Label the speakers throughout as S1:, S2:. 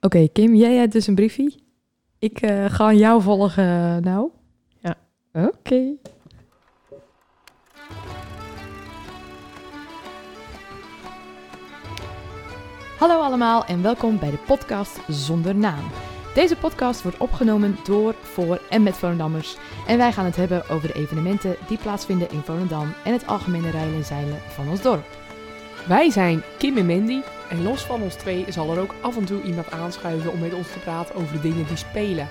S1: Oké, Kim, jij hebt dus een briefie. Ik eh, ga jou volgen nou.
S2: Ja.
S1: Oké. Hallo allemaal en welkom bij de podcast Zonder Naam. Deze podcast wordt opgenomen door, voor en met Volendammers. En wij gaan het hebben over de evenementen die plaatsvinden in Volendam en het algemene rijden en zeilen van ons dorp.
S2: Wij zijn Kim en Mandy en los van ons twee zal er ook af en toe iemand aanschuiven om met ons te praten over de dingen die spelen.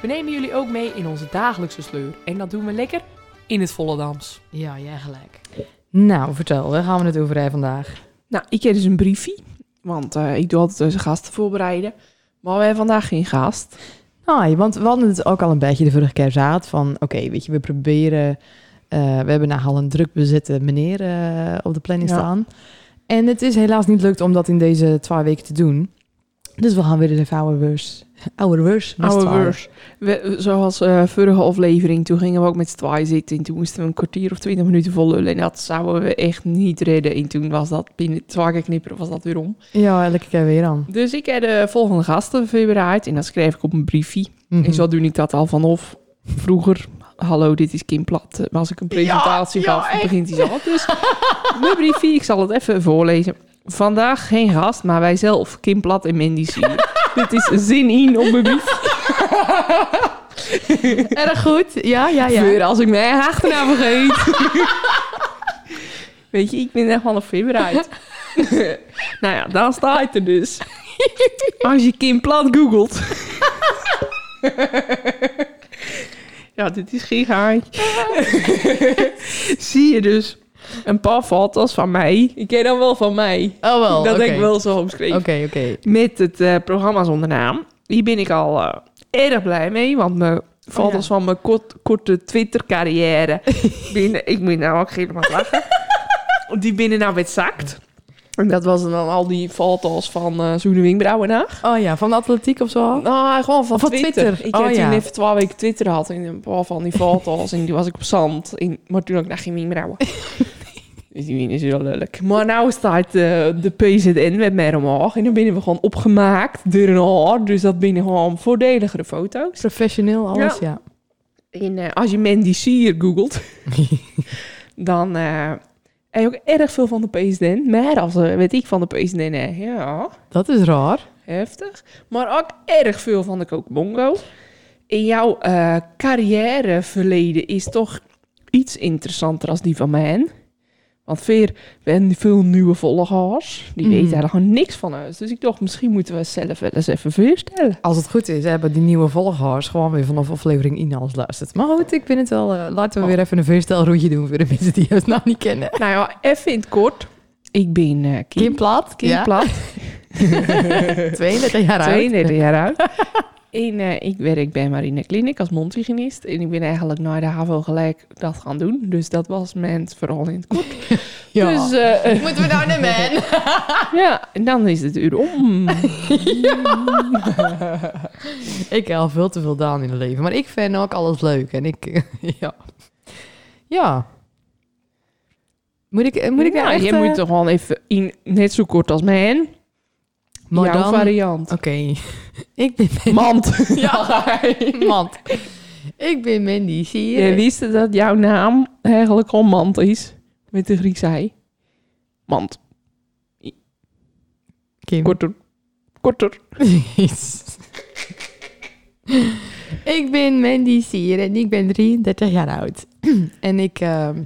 S2: We nemen jullie ook mee in onze dagelijkse sleur en dat doen we lekker in het Volendams.
S1: Ja, jij gelijk. Nou, vertel, waar gaan we het over hebben vandaag?
S3: Nou, ik heb dus een briefie, want eh, ik doe altijd onze gasten voorbereiden. Maar we hebben vandaag geen gast.
S1: Hi, Ah, want we hadden het ook al een beetje de vorige keer zaad van... Oké, weet je, we proberen... eh, we hebben nogal een druk bezette meneer eh, op de planning
S3: Ja.
S1: staan. En het is helaas niet lukt om dat in deze twee weken te doen. Dus we gaan weer eens even ouderweurs... Ouderweurs? met z'n
S3: Oude
S1: tweeën.
S3: weurs. We- Zoals eh vorige aflevering, toen gingen we ook met z'n tweeën zitten. En toen moesten we een kwartier of twintig minuten vol lullen. En dat zouden we echt niet redden. En toen was dat binnen twee keer knipperen, was dat weer om.
S1: Ja, elke keer weer aan.
S3: Dus ik heb de volgende gasten voorbereid. En dat schrijf ik op een briefie.
S1: Mhm.
S3: En zo doe ik dat al vanaf vroeger. Hallo, dit is Kim Plat. Eh, Maar als ik een presentatie
S1: Ja, ja,
S3: gaf,
S1: echt.
S3: begint hij zo. Dus mijn briefie, ik zal het even voorlezen. Vandaag geen gast, maar wij zelf, Kim Plat en Mandy Sier. dit is zin in op mijn brief.
S1: Erg goed. Ja, ja, ja.
S3: Weer als ik mijn eigen achternaam vergeet. Weet je, ik ben echt wel een favorite. nou ja, dan staat het er dus. Als je Kim Plat googelt. ja, dit is gigaai. Zie je dus een paar foto's van mij. Ik ken dan wel van mij.
S1: Oh wel,
S3: dat
S1: oké.
S3: ik wel zo omschreven.
S1: Oké, oké.
S3: Met het eh, programma zonder naam. Hier ben ik al eh, erg blij mee. Want mijn foto's
S1: ja.
S3: van mijn kort- korte Twitter-carrière... binnen, ik moet nou ook geen maar lachen. die binnen nou werd zakt. En dat was dan al die foto's van eh zo'n wenkbrauwen na.
S1: Oh ja, van de atletiek Oh. of zo?
S3: Nou, gewoon van,
S1: Van
S3: Twitter.
S1: Twitter.
S3: Ik
S1: Oh,
S3: heb
S1: ja.
S3: toen even twaalf weken Twitter had in een paar van die foto's. en toen was ik op zand. En, maar toen had ik nog geen wenkbrauwen. Dus die is wel lelijk. Maar nou staat eh, de PZN met mij omhoog. En dan binnen we gewoon opgemaakt door een haar. Dus dat binnen gewoon voordeligere foto's.
S1: Professioneel, alles, ja.
S3: En eh, als je Mandy Sier googelt, dan eh heb je ook erg veel van de PZN. Maar als eh, weet ik van de PZN, eh, ja...
S1: Dat is raar.
S3: Heftig. Maar ook erg veel van de Bongo. In jouw eh, carrièreverleden is toch iets interessanter als die van mij. Want Veer, we hebben veel nieuwe volgers. Die
S1: Mhm.
S3: weten eigenlijk gewoon niks van ons. Dus ik dacht, misschien moeten we zelf wel eens even voorstellen.
S1: Als het goed is, hebben die nieuwe volgers gewoon weer vanaf aflevering 1 alles luisterd. Maar goed, ik vind het wel... eh, laten we
S3: Oh.
S1: weer even een voorstelroetje doen voor de mensen die het nou niet kennen.
S3: Nou ja, even in het kort. Ik ben eh, Kim,
S1: Kim Plat.
S3: Kim
S1: ja.
S3: Plat,
S1: 32 jaar oud.
S3: 32 jaar oud. En eh, ik werk bij Marine Clinic als mondhygiënist. En ik ben eigenlijk naar de HAVO gelijk dat gaan doen. Dus dat was mijn verhaal in het kort.
S1: Ja.
S3: Dus eh, eh,
S1: Moeten we nou naar men?
S3: ja, en dan is het uur om.
S1: ik heb al veel te veel gedaan in het leven. Maar ik vind ook alles leuk. En ik... eh, ja. Ja. Moet ik, eh, moet ik nou
S3: ja,
S1: echt...
S3: je
S1: eh,
S3: moet toch gewoon even in, net zo kort als mijn.
S1: maar
S3: jouw
S1: dan-
S3: variant.
S1: Oké. ik ben...
S3: Mand.
S1: Ja, mand. Ik ben Mandy, zie je?
S3: Je wist dat jouw naam eigenlijk al mand is. Met de Griekse ei. Mand.
S1: Kim.
S3: Korter. Korter.
S1: Jezus. ik ben Mandy Sier en ik ben 33 jaar oud. en ik ehm,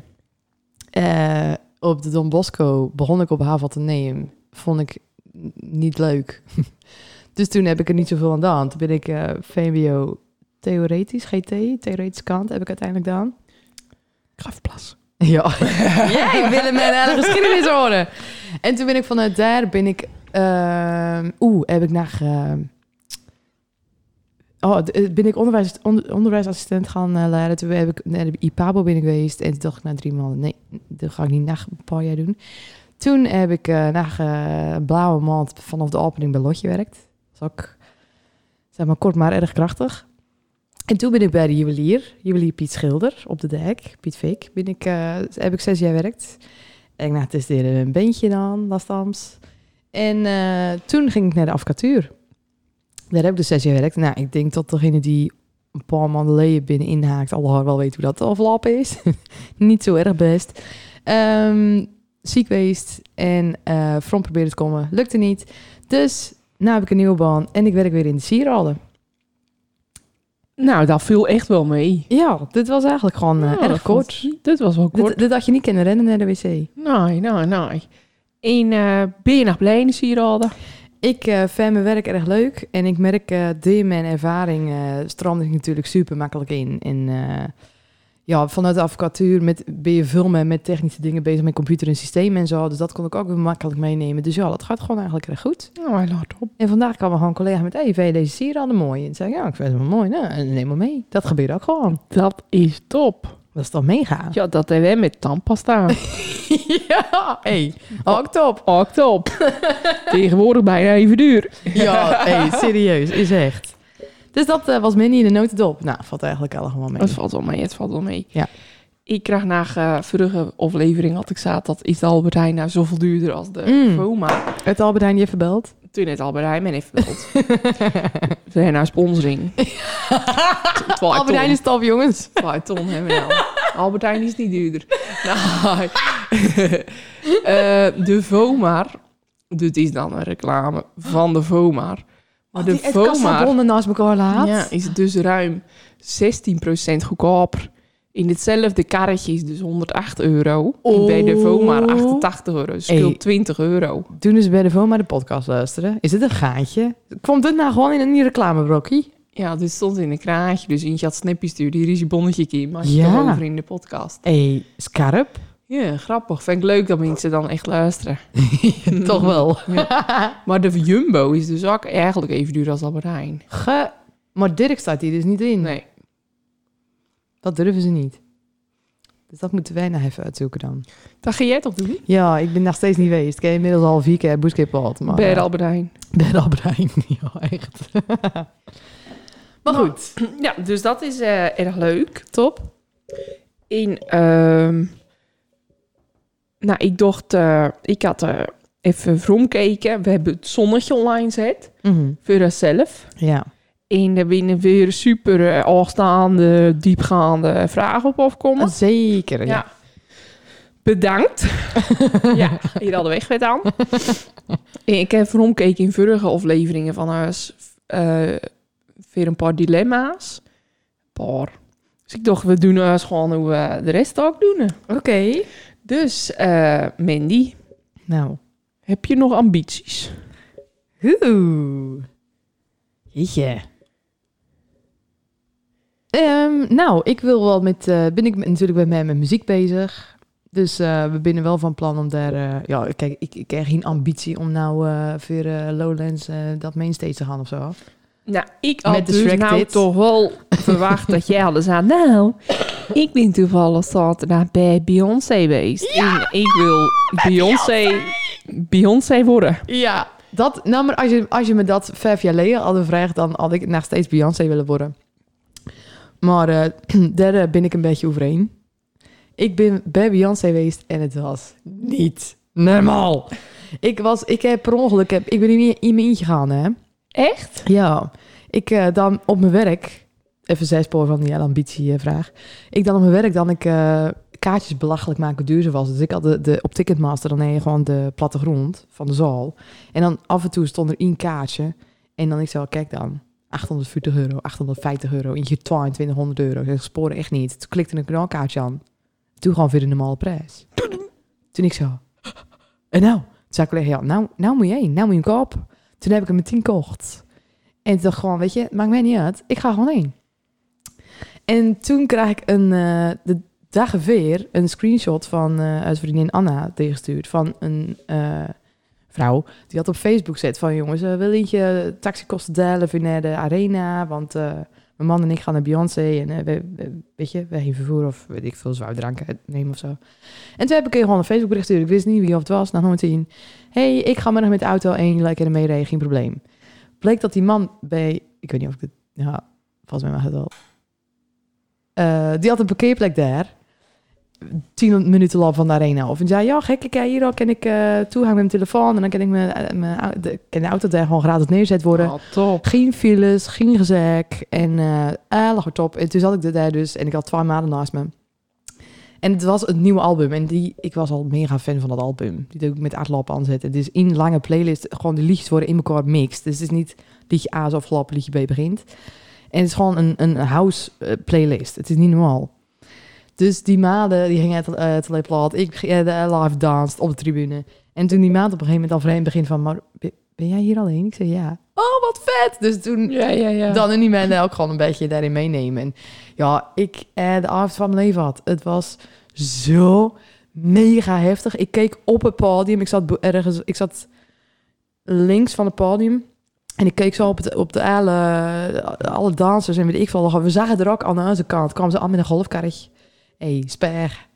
S1: eh, op de Don Bosco begon ik op haven te nemen. Vond ik n- niet leuk. dus toen heb ik er niet zoveel aan gedaan. Toen ben ik eh, VMBO theoretisch, GT, theoretisch kant heb ik uiteindelijk gedaan.
S3: Ik ga even plassen.
S1: Ja. Jij wil mijn hele geschiedenis horen. En toen ben ik vanuit daar ben ik. ehm, Oeh, heb ik naar. ehm, oh, d- eh, ben ik onderwijs, on- onderwijsassistent gaan eh, leiden. Toen heb ik naar de IPABO ben ik geweest. En toen dacht ik na drie maanden, nee, dat ga ik niet na een paar jaar doen. Toen heb ik eh na eh, een blauwe maand vanaf de opening bij Lotje werkt. Dat is ook, zeg maar, kort maar erg krachtig. En toen ben ik bij de juwelier, juwelier Piet Schilder op de dijk, Piet Veek, ben ik, eh, heb ik zes jaar gewerkt. En ik nou, het is weer een bandje dan, lastams. En eh, toen ging ik naar de advocatuur. Daar heb ik dus zes jaar gewerkt. Nou, ik denk dat degene die een paar maanden geleden binnen inhaakt, al wel weet hoe dat aflopen is. Niet zo erg best. Ehm, ziek geweest en eh front probeerde te komen. Lukte niet. Dus nu heb ik een nieuwe baan en ik werk weer in de sierrollen.
S3: Nou, dat viel echt wel mee.
S1: Ja, dit was eigenlijk gewoon eh,
S3: Nou, dat
S1: erg kort.
S3: vond- Dit was wel kort.
S1: Dit, dit had je niet kunnen rennen naar de wc.
S3: Nee, nee, nee. En eh, ben je nog blij in de sieraden?
S1: Ik eh, vind mijn werk erg leuk en ik merk eh door mijn ervaring eh stroomde ik natuurlijk super makkelijk in. En eh, ja, vanuit de advocatuur met, ben je veel meer met technische dingen bezig, met computer en systemen en zo. Dus dat kon ik ook weer makkelijk meenemen. Dus ja, dat gaat gewoon eigenlijk erg goed.
S3: Nou, laat op.
S1: En vandaag kwam er gewoon een collega met, hey, vind je deze sieraden mooi? En zei ik, ja, ik vind ze wel mooi. Nou, en neem maar mee. Dat gebeurt ook gewoon.
S3: Dat is top.
S1: Dat is toch mega?
S3: Ja, dat hebben we met tandpasta.
S1: Ja, hey, Oh, ook top.
S3: Ook top. Tegenwoordig bijna even duur.
S1: Ja, hey, serieus, is echt. Dus dat eh, was Minnie in de notendop. Nou, valt eigenlijk allemaal mee.
S3: Het valt wel mee, het valt wel mee.
S1: Ja.
S3: Ik kreeg na eh, vorige aflevering had ik zaad dat is de Albert Heijn nou zoveel duurder als de
S1: Mm.
S3: Foma.
S1: Het Albert Heijn je verbeld?
S3: Toen het Albert Heijn men heeft verteld. We hebben nou sponsoring.
S1: Albert Heijn is top, jongens.
S3: Twee ton hebben we nou. Albert Heijn is niet duurder. Nee. Eh, de Vomar. Dit is dan een reclame van de Vomar. Maar de Vomar
S1: bonnen naast elkaar laat.
S3: ja, is dus ruim 16% goedkoper. In hetzelfde karretje is dus 108 euro. En bij de
S1: Oh.
S3: Vomar 88 euro. Dus Scheelt
S1: Hey.
S3: 20 euro.
S1: Doen eens dus bij de Voma de podcast luisteren. Is dit een gaatje? Komt dit nou gewoon in een reclamebrokkie?
S3: Ja, dit stond in een kraantje. Dus eentje had snapjes stuurd. Hier is je bonnetje, Kim. Had je
S1: Ja.
S3: het over in de podcast.
S1: Hé, hey, scarp.
S3: Ja, grappig. Vind ik leuk dat mensen dan echt luisteren.
S1: Toch wel.
S3: Maar de Jumbo is dus ook eigenlijk even duur als Albert Heijn.
S1: Ge... Maar Dirk staat hier dus niet in.
S3: Nee.
S1: Dat durven ze niet. Dus dat moeten wij nou even uitzoeken dan.
S3: Dat ga jij toch doen?
S1: Ja, ik ben nog steeds niet geweest. Ik heb inmiddels al vier keer boeskip gehad. Maar,
S3: Bij de
S1: eh,
S3: Albert Heijn.
S1: bij de Albert Heijn. Ja, echt. maar
S3: Nou,
S1: goed.
S3: Ja, dus dat is eh, erg leuk. Top. In, ehm, nou, ik dacht, eh, ik had eh, even vromkeken. We hebben het zonnetje online gezet
S1: Mhm.
S3: voor onszelf.
S1: Ja.
S3: En daar binnen weer super eh, afstaande, diepgaande vragen op afkomen.
S1: Zeker, ja.
S3: Ja. Bedankt. ja, hier hadden we echt wet aan. ik heb rondkeken in vorige afleveringen van huis. eh, weer een paar dilemma's. Paar. Dus ik dacht, we doen eens gewoon hoe we de rest ook doen.
S1: Oké.
S3: Dus, eh Mandy,
S1: Nou.
S3: heb je nog ambities?
S1: Oeh. Jeetje. Ehm, nou, ik wil wel met. eh, ben ik met- natuurlijk bij mij met muziek bezig. Dus eh, we binnen wel van plan om daar. eh, ja, kijk, ik, ik heb geen ambitie om nou eh voor eh, Lowlands eh, dat mainstage te gaan of zo.
S3: Nou, ik had
S1: Met de
S3: dus
S1: Shrek
S3: nou
S1: dit.
S3: toch wel verwacht dat jij alles aan. Nou, ik ben toevallig zaterdag bij Beyoncé geweest. en ik wil Beyoncé, Beyoncé worden.
S1: Ja. Dat, nou, maar als je, als je me dat vijf jaar geleden had gevraagd, dan had ik nog steeds Beyoncé willen worden. Maar eh, daar eh, ben ik een beetje overheen. Ik ben bij Beyoncé geweest en het was niet normaal. Ik, was, ik heb per ongeluk, heb, ik ben in, in mijn eentje gegaan, hè.
S3: Echt?
S1: Ja, ik eh, dan op mijn werk, even zijspoor van die hele ambitievraag. Ik dan op mijn werk dan ik eh, kaartjes belachelijk maken hoe duur ze was. Dus ik had de, de op Ticketmaster dan nee, gewoon de plattegrond van de zaal. En dan af en toe stond er één kaartje. En dan ik zo, kijk dan, 840 euro, 850 euro, eentje 2200 euro. Ik zeg, sporen echt niet. Toen klikte ik een knalkaartje aan. Toen gewoon weer de normale prijs. Toen ik zo, en nou? Toen zei ik collega, ja, nou, nou moet je heen, nou moet je hem kopen. Toen heb ik hem meteen kocht. En toen dacht ik gewoon, weet je, het maakt mij niet uit. Ik ga gewoon heen. En toen krijg ik een, eh, de dagen weer een screenshot van eh uit vriendin Anna tegengestuurd. Van een eh, vrouw die had op Facebook gezet van... jongens, eh, wil eentje taxikosten delen voor naar de arena? Want eh, mijn man en ik gaan naar Beyoncé. En eh, we- we- weet je, wij geen vervoer of weet ik veel, zwaar drank nemen of zo. En toen heb ik gewoon een Facebook bericht gestuurd. Ik wist niet wie of het was, nog nooit zien. hey, ik ga morgen met de auto en jullie lekker ermee rijden, geen probleem bleek dat die man bij, ik weet niet of ik het, ja, volgens mij mag het wel. Eh, die had een parkeerplek daar. tien minuten lopen van de arena. Of en zei, ja, gek, ik hier al kan ik eh toegang met mijn telefoon. En dan kan ik mijn, eh, mijn, au- de, kan de auto daar gewoon gratis neerzet worden.
S3: Ah, top.
S1: Geen files, geen gezek. En eh eh, lag het op. En toen zat ik er daar dus. En ik had twee maanden naast me. En het was het nieuwe album. En die, ik was al mega fan van dat album. Die doe ik met aardlap aanzetten. Dus in lange playlist gewoon de liedjes worden in elkaar mixed. Dus het is niet liedje A is afgelopen, liedje B begint. En het is gewoon een, een house eh, playlist. Het is niet normaal. Dus die maanden, die gingen uit eh, het alleen plat. Ik eh, de live danst op de tribune. En toen die maand op een gegeven moment al vreemd begint van... "Maar ben- Ben jij hier alleen? Ik zei ja. Oh, wat vet! Dus toen
S3: Ja, ja, ja.
S1: dan in die mensen ook gewoon een beetje daarin meenemen. En ja, ik eh, de avond van mijn leven had. Het was zo mega heftig. Ik keek op het podium. Ik zat bo- ergens, ik zat links van het podium. En ik keek zo op, het, op de alle, alle dansers en weet ik veel. We zagen er ook aan onze kant. Kwamen ze al met een golfkarretje. Hé, hey, sper.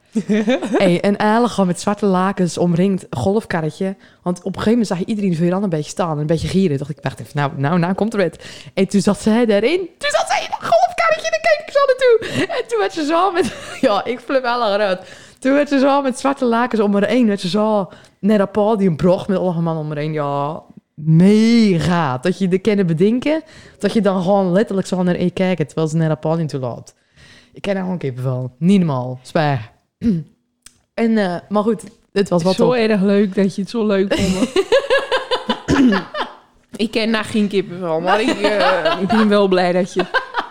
S1: hey, en alle gewoon met zwarte lakens omringd golfkarretje. Want op een gegeven moment zag je iedereen voor je dan een beetje staan. En een beetje gieren. Dacht ik, wacht even, nou, nou, nou komt er het. En toen zat zij daarin. Toen zat zij in een golfkarretje. En dan keek ik zo naartoe. En toen werd ze zo met... Ja, ik flip wel eruit. Toen werd ze zo met zwarte lakens om haar heen. Werd ze zo naar dat podium brocht met allemaal mannen om haar heen. Ja, mega. Dat je de kennen bedenken. Dat je dan gewoon letterlijk zo naar een kijkt. Terwijl ze naar dat podium toe loopt. Ik ken haar gewoon kippenvel. Niet normaal. Zwaar. En, eh, maar goed. Het was wat
S3: zo
S1: op.
S3: erg leuk dat je het zo leuk vond. ik ken daar geen kippenvel, maar ik, eh, ik ben wel blij dat je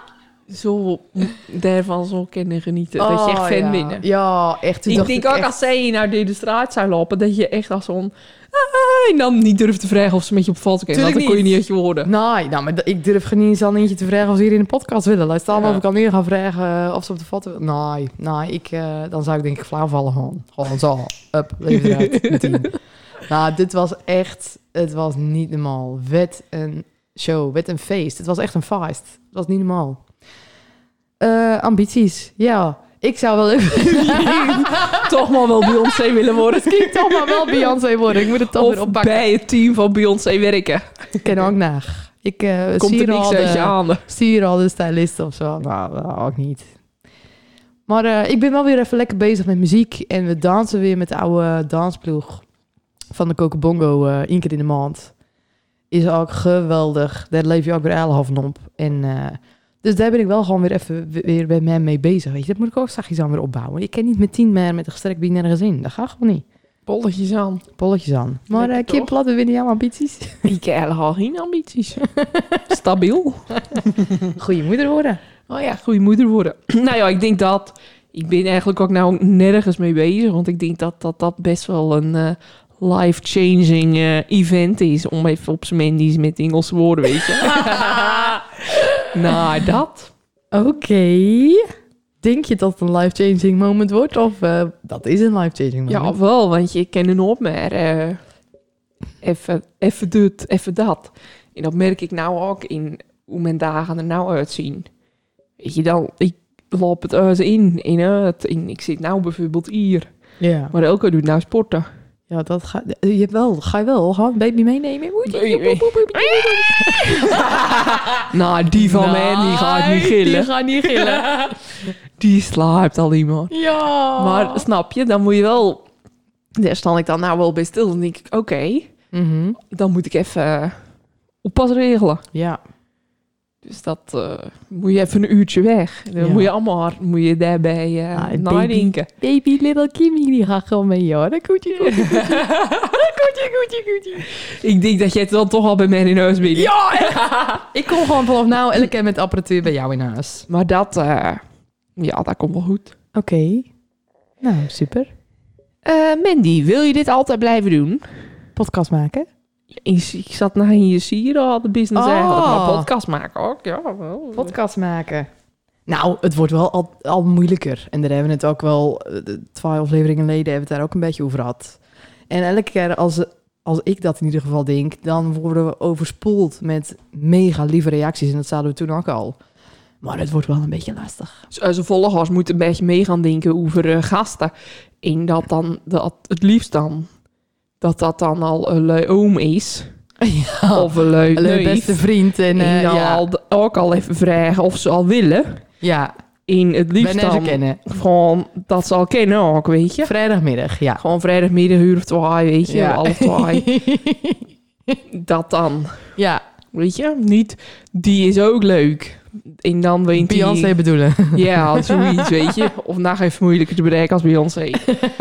S3: zo daarvan zo kan genieten. dat je echt fan
S1: ja.
S3: binnen.
S1: Ja, echt. Toen
S3: Ik
S1: Oh, dacht
S3: denk ook
S1: echt-
S3: als zij naar de straat zou lopen, dat je echt als zo'n... "Ah," en dan niet durft te vragen of ze met je op foto kijken. Want
S1: Tuurlijk
S3: dan kon je
S1: niet.
S3: niet uit je woorden.
S1: Nee, nou, maar d- ik durf geen eens aan eentje te vragen als ze hier in de podcast willen. Laat staan
S3: Ja.
S1: of ik aan hier ga vragen eh, of ze op de foto willen. Nee, nee, ik, eh, dan zou ik denk ik flauw vallen gewoon. Gewoon zo, up, leven eruit, meteen. Nou, dit was echt, het was niet normaal. Wet een show, wet een feest. Het was echt een feest. Het was niet normaal. Eh, ambities, ja. Ik zou wel even...
S3: toch maar wel Beyoncé willen worden.
S1: Misschien toch maar wel Beyoncé worden. Ik moet het toch weer
S3: Of
S1: oppakken.
S3: bij het team van Beyoncé werken.
S1: Ik ken ook naar. Ik eh,
S3: Komt
S1: zie
S3: er
S1: er al
S3: niks
S1: de-
S3: uit je handen.
S1: stuur al de stylist of zo. Nou, dat ook niet. Maar eh, ik ben wel weer even lekker bezig met muziek. En we dansen weer met de oude dansploeg van de Cocobongo eh één keer in de maand. Is ook geweldig. Daar leef je ook weer half op. En, eh, dus daar ben ik wel gewoon weer even w- weer bij mij mee bezig. Weet je, dat moet ik ook zachtjes aan weer opbouwen. Ik kan niet met tien meer met een gestrekt been nergens in. Dat gaat gewoon niet.
S3: Bolletjes aan.
S1: Polletjes aan. Maar
S3: Lekker
S1: eh Kim
S3: toch?
S1: Platte, winnen jouw ambities?
S3: Ik heb al geen ambities. Stabiel.
S1: Goeie moeder worden.
S3: Oh ja, goede moeder worden. nou ja, ik denk dat... Ik ben eigenlijk ook nou nergens mee bezig. Want ik denk dat dat, dat best wel een eh, life-changing eh, event is. Om even op zijn Mendy's met Engelse woorden, weet je. nou, dat.
S1: Oké. Denk je dat het een life-changing moment wordt? Of eh, dat is een life-changing moment?
S3: Ja, wel. Oh, Want je kent een op, maar... eh, even, even dit, even dat. En dat merk ik nou ook in hoe mijn dagen er nou uitzien. Weet je, dan... Ik loop het uit in, in uit. in. ik zit nou bijvoorbeeld hier.
S1: ja.
S3: Maar Elke doet nou sporten.
S1: ja dat ga, je hebt wel, ga je wel. Ga een baby meenemen? Moet je-
S3: nou, die van mij, die gaat niet
S1: Die
S3: gillen.
S1: gaat niet gillen.
S3: Die slaapt al iemand.
S1: ja.
S2: Oh.
S3: Maar snap je, dan moet je wel... Daar sta ik dan nou wel bij stil. Dan denk ik, oké,
S1: Mhm.
S3: dan moet ik even eh, oppas regelen.
S1: Ja.
S3: Dus dat eh, moet je even een uurtje weg. Dan
S1: Ja.
S3: moet je allemaal hard, moet je daarbij eh
S1: Ah, het
S3: nadenken.
S1: Baby little Kimmy, die gaat gewoon mee, joh. Dat komt je goed.
S3: Ik denk dat jij het dan toch al bij mij in huis bent.
S1: Ja, Ik kom gewoon vanaf nou elke keer met apparatuur bij jou in huis.
S3: Maar dat, eh, ja, dat komt wel goed.
S1: Oké. Nou, super.
S3: Eh, Mandy, wil je dit altijd blijven doen?
S1: Podcast maken.
S3: Ik, ik zat naar je sieraden business
S1: Oh.
S3: eigenlijk. Maar podcast maken ook, ja. wel.
S1: podcast maken. Nou, het wordt wel al, al moeilijker. En daar hebben we het ook wel, eh, de twee afleveringen geleden hebben we het daar ook een beetje over gehad. En elke keer als, als ik dat in ieder geval denk, dan worden we overspoeld met mega lieve reacties. En dat zaten we toen ook al. Maar het wordt wel een beetje lastig.
S3: Dus onze volgers moeten een beetje mee gaan denken over eh, gasten. En dat dan, dat, het liefst dan, dat dat dan al een lui oom is.
S1: Ja,
S3: Of Ah, een lui
S1: een
S3: neef.
S1: beste vriend. En,
S3: En
S1: eh,
S3: dan
S1: ja,
S3: al, ook al even vragen of ze al willen.
S1: ja,
S3: in het liefst
S1: Ben ze
S3: dan
S1: kennen.
S3: gewoon dat ze al kennen ook, weet je.
S1: Vrijdagmiddag, ja.
S3: Gewoon vrijdagmiddag, uur of twee, weet je,
S1: Ja.
S3: half twee. dat dan,
S1: ja,
S3: weet je. Niet, die is ook leuk. En dan weet die-
S1: Beyoncé bedoelen.
S3: Ja, zoiets, weet je. Of nou even moeilijker te bereiken als Beyoncé.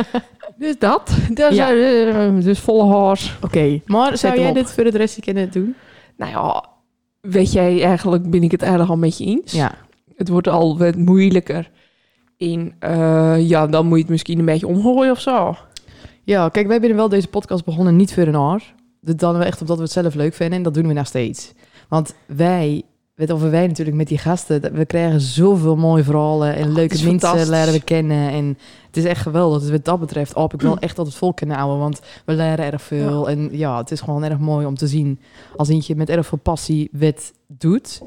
S3: dus dat. dat is,
S1: Ja.
S3: eh, dus volle haars.
S1: Oké, maar
S3: Zet
S1: zou
S3: hem
S1: jij
S3: op.
S1: dit voor het restje kunnen doen?
S3: Nou ja, weet jij, eigenlijk ben ik het eigenlijk al met je eens.
S1: Ja.
S3: Het wordt al wat moeilijker. En eh, ja, dan moet je het misschien een beetje omgooien of zo.
S1: Ja, kijk, wij zijn wel deze podcast begonnen niet voor een haar. Dat dan we echt omdat we het zelf leuk vinden en dat doen we nog steeds. Want wij, weet over wij natuurlijk met die gasten, dat- we krijgen zoveel mooie verhalen en
S3: het is
S1: leuke mensen
S3: fantastisch.
S1: leren we kennen. En het is echt geweldig. Dus wat dat betreft hoop ik wel echt dat het vol kunnen houden, want we leren erg veel. En ja, het is gewoon erg mooi om te zien als eentje met erg veel passie wat doet.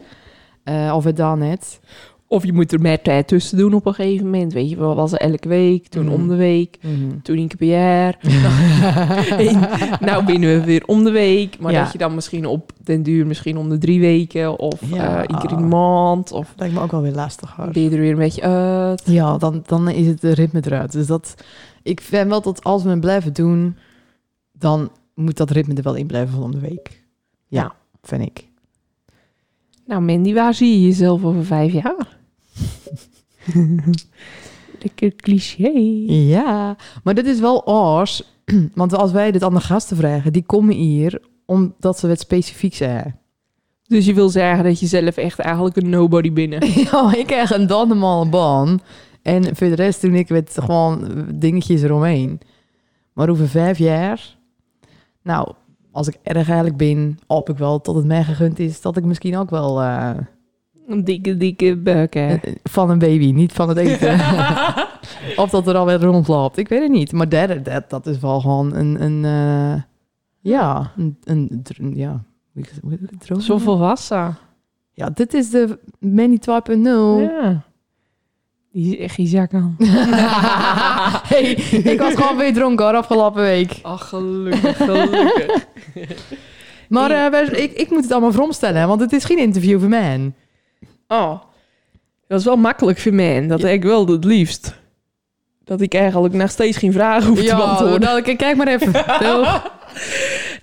S1: Eh, of het dan net.
S3: Of je moet er meer tijd tussen doen op een gegeven moment. Weet je, wel was er elke week, toen
S1: Mhm.
S3: om de week, toen een keer per jaar. En nou binnen we weer om de week. Maar
S1: Ja.
S3: dat je dan misschien op den duur, misschien om de drie weken of
S1: Ja.
S3: eh, iedere maand. Of
S1: Lijkt me ook wel weer lastig hoor.
S3: ben je er weer een beetje uit.
S1: Ja, dan, dan is het de ritme eruit. Dus dat, ik vind wel dat als we het blijven doen, dan moet dat ritme er wel in blijven van om de week. Ja,
S3: Ja.
S1: vind ik.
S3: Nou Mandy, waar zie je jezelf over vijf jaar? Lekker cliché.
S1: Ja, maar dit is wel oors. Want als wij dit aan de gasten vragen, die komen hier omdat ze wat specifiek zijn.
S3: Dus je wil zeggen dat je zelf echt eigenlijk een nobody binnen.
S1: Ja, ik krijg een donemal ban. En voor de rest doe ik met gewoon dingetjes eromheen. Maar over vijf jaar... Nou, als ik erg eigenlijk ben, hoop ik wel tot het mij gegund is... dat ik misschien ook wel eh,
S3: Een dikke, dikke bukken.
S1: eh, van een baby, niet van het eten... of dat er alweer rondloopt, ik weet het niet. Maar dat, dat, dat is wel gewoon een... een eh, ja, een, een, dr- een- ja, hoe ik- hoe ik het droom?
S3: Zo volwassen.
S1: Ja, dit is de Manny 2.0.
S3: Oh. Ja. Die is echt je zak aan.
S1: hey, ik was gewoon weer dronken hoor, afgelopen week.
S3: Ach, Ah, gelukkig, gelukkig.
S1: Maar eh, wij- ik, ik moet het allemaal vromstellen, want het is geen interview voor mij.
S3: Oh, dat is wel makkelijk voor mij. Dat ik wel het liefst. Dat ik eigenlijk nog steeds geen vragen hoef te beantwoorden.
S1: kijk, maar even.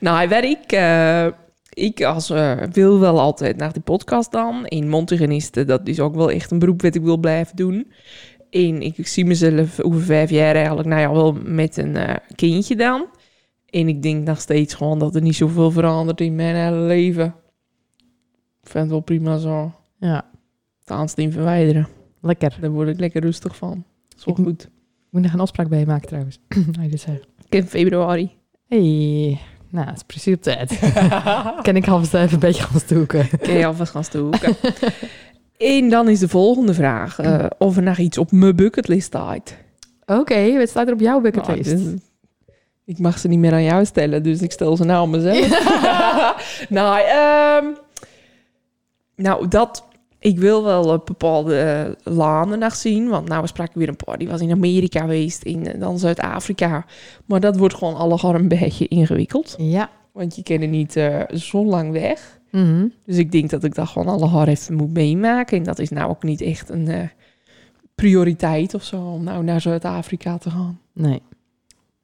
S3: Nou, waar ik, eh, ik als, eh, wil wel altijd naar die podcast dan. In Montigenisten, dat is ook wel echt een beroep wat ik wil blijven doen. En ik, zie mezelf over vijf jaar eigenlijk, nou ja, wel met een eh, kindje dan. En ik denk nog steeds gewoon dat er niet zoveel verandert in mijn hele leven. Ik vind het wel prima zo.
S1: Ja,
S3: Het aansteen verwijderen.
S1: lekker.
S3: Daar word ik lekker rustig van. Is wel
S1: Ik-
S3: goed.
S1: Ik moet nog een afspraak bij je maken trouwens. nou, dit zeggen.
S3: Ik heb februari.
S1: hey, nou, het is precies op tijd. Ken ik half even een beetje gaan stoeken.
S3: Kun je alvast gaan stoken. en dan is de volgende vraag. eh, of er nog iets op mijn bucketlist staat.
S1: Oké, wat staat er op jouw bucketlist?
S3: Nou, dus- ik mag ze niet meer aan jou stellen, dus ik stel ze nou aan mezelf. nou, ehm, nou, dat... Ik wil wel eh, bepaalde eh, lanen nog zien. Want nou, we spraken weer een paar. Die was in Amerika geweest, in, eh, dan Zuid-Afrika. Maar dat wordt gewoon allegar een beetje ingewikkeld.
S1: dus- Ja.
S3: Want je kan er niet eh, zo lang weg.
S1: Mhm.
S3: Dus ik denk dat ik dat gewoon alle haar even moet meemaken. En dat is nou ook niet echt een eh, prioriteit of zo om nou naar Zuid-Afrika te gaan.
S1: Nee.